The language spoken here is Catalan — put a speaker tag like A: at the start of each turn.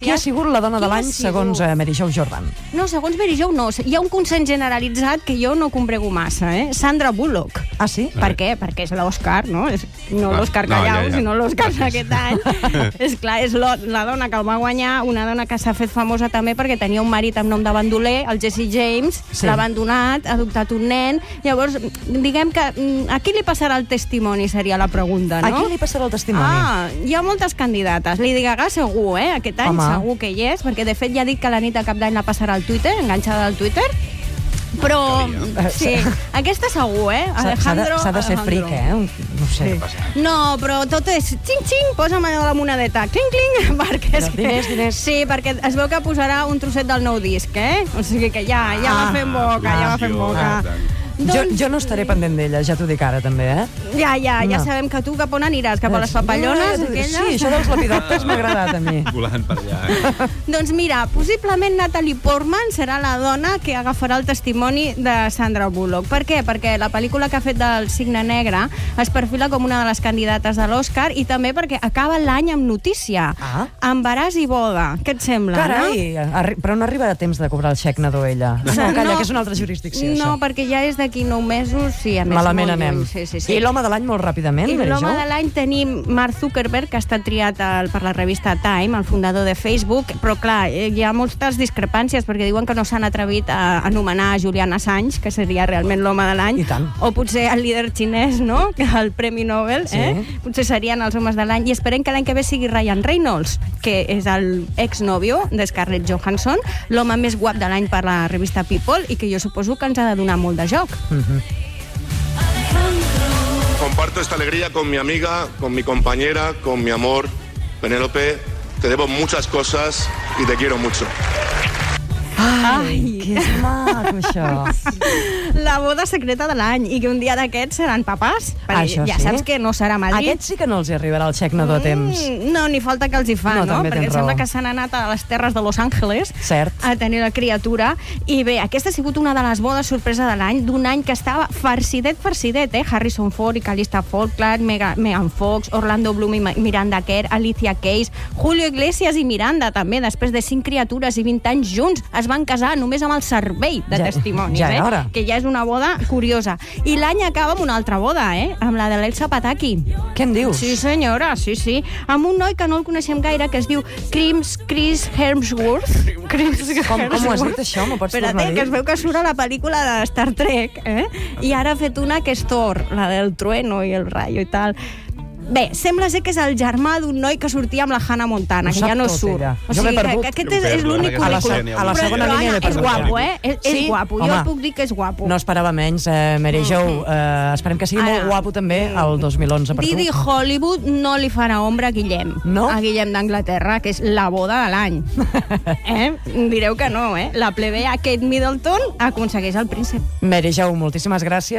A: Qui ha sigut la dona de
B: Qui ha
A: l'any
B: sigut?
A: segons eh, Mary Jo Jordan?
B: No, segons Mary Jo, no. Hi ha un consens generalitzat que jo no comprego massa, eh? Sandra Bullock.
A: Ah, sí?
B: Per què? Perquè és l'Òscar, no? És, no
C: Ah,
B: l'Òscar
C: no,
B: Callau,
C: ja, ja.
B: sinó l'Òscar
C: Gràcies.
B: d'aquest any. és clar, és lo, la dona que el va guanyar, una dona que s'ha fet famosa també perquè tenia un marit amb nom de bandoler, el Jesse James,
A: Sí.
B: sí. l'ha abandonat, ha adoptat un nen... Llavors, diguem que mm, a qui li passarà el testimoni, seria la pregunta,
A: A
B: no?
A: qui li passarà el testimoni?
B: Ah, hi ha moltes candidates. Lady Gaga segur, eh? Aquest any
A: Home.
B: segur que hi és, perquè de fet ja dic que la nit de cap d'any la passarà al Twitter, enganxada al Twitter. Però, eh,
A: Calia.
B: sí, aquesta segur,
A: Eh,
B: eh?
A: S'ha- s'ha de-
B: Alejandro...
A: S'ha de, ser fric,
B: Alejandro.
A: eh? Un- No ho sé.
B: No, però tot és xing-xing, posa'm allò de la monedeta, cling-cling, perquè... És
A: Però diners, diners.
B: Sí, perquè es veu que posarà un trosset del nou disc, eh? O sigui que ja, ja va fent boca, ja va fent boca.
C: Ah.
A: Jo,
B: Doncs-
A: jo no estaré pendent d'ella, ja t'ho dic ara, també, eh?
B: Ja, ja, ja
A: No. Eh,
B: sabem que tu cap on aniràs, cap a les
A: No, ja
B: papallones,
A: t'ho dic.
B: aquelles?
A: Sí, això dels lapidoptes m'ha agradat a mi.
C: ah. Volant per allà.
B: Doncs mira, possiblement Natalie Portman serà la dona que agafarà el testimoni de Sandra Bullock. Per què? Perquè la pel·lícula que ha fet del Signe Negre es perfila com una de les candidates de l'Oscar i també perquè acaba l'any amb notícia.
A: Ah.
B: Embaràs i boda. Què et sembla? no?
A: Carai, arri- però no arriba a temps de cobrar el xec nadó ella. No, calla, que és una altra jurisdicció,
B: No,
A: això.
B: perquè ja és d'aquí nou mesos, sí, a més,
A: Malament
B: molt lluny.
A: anem.
B: Sí, sí, sí.
A: I l'home de l'any molt ràpidament,
B: I
A: Mary Jo?
B: l'home de l'any tenim Mark Zuckerberg, que ha estat triat el, per la revista Time, el fundador de Facebook, però clar, eh, hi ha moltes discrepàncies perquè diuen que no s'han atrevit a anomenar Julian Assange, que seria realment l'home de l'any,
A: I tant.
B: o potser el líder xinès, no?, que el Premi Nobel,
A: Sí.
B: eh? potser serien els homes de l'any, i esperem que l'any que ve sigui Ryan Reynolds, que és el exnòvio de Scarlett Johansson, l'home més guap de l'any per la revista People, i que jo suposo que ens ha de donar molt de joc.
D: Comparto esta alegría con mi amiga, con mi compañera, con mi amor. Penélope, te debo muchas cosas y te quiero mucho.
A: Ai, que és maco, això.
B: La boda secreta de l'any i que un dia d'aquests seran papàs. Perquè
A: Això
B: ja
A: sí.
B: saps que no serà a Madrid.
A: Aquests sí que no els hi arribarà el xec nadó a temps.
B: Mm, no, ni falta que els hi fa,
A: No,
B: no?
A: també
B: Perquè
A: tens
B: sembla
A: raó.
B: que s'han anat a les terres de Los Angeles
A: Cert.
B: a tenir la criatura. I bé, aquesta ha sigut una de les bodes sorpresa de l'any, d'un any que estava farcidet, farcidet, eh? Harrison Ford i Calista Faulkner, Mega- Megan Fox, Orlando Bloom i Ma- Miranda Kerr, Alicia Keys, Julio Iglesias i Miranda, també, després de cinc criatures i 20 anys junts, es van casar només amb el servei de
A: Ja-
B: testimonis,
A: ja era
B: eh?
A: hora.
B: Que ja és una boda curiosa. I l'any acaba amb una altra boda, eh? Amb la de l'Elsa Pataki.
A: Què en dius?
B: Sí, senyora, sí, sí. Amb un noi que no el coneixem gaire, que es diu Crims Chris Hemsworth. Crims
A: Com- com ho has dit, això? M'ho pots tornar a dir?
B: que es veu que surt a la pel·lícula de Star Trek, eh? I ara ha fet una que és Thor, la del trueno i el rayo i tal. Bé, sembla ser que és el germà d'un noi que sortia amb la Hannah Montana,
A: Ho
B: que
A: sap
B: ja no
A: tot,
B: surt.
A: ella.
B: O
A: Jo m'he
B: sigui, que,
A: perdut.
B: que aquest és, és
C: Jo
B: l'únic
C: perdo,
A: A la,
C: se-
B: currículum.
C: currículum.
A: a la
B: Però,
A: segona
B: però,
A: línia m'he
B: Anna, és
A: perdut.
B: guapo, eh? És, és
A: Sí?
B: guapo. Jo
A: Home.
B: et puc dir que és guapo.
A: Oh. No esperava menys, eh, Mary Jo. Eh, esperem que sigui
B: Mm. Ara.
A: molt guapo també el 2011 per
B: Didi
A: tu.
B: Hollywood no li farà ombra a Guillem.
A: No?
B: A Guillem d'Anglaterra, que és la boda de l'any. eh? Direu que no, eh? La plebea Kate Middleton aconsegueix el príncep.
A: Mary Jo, moltíssimes gràcies.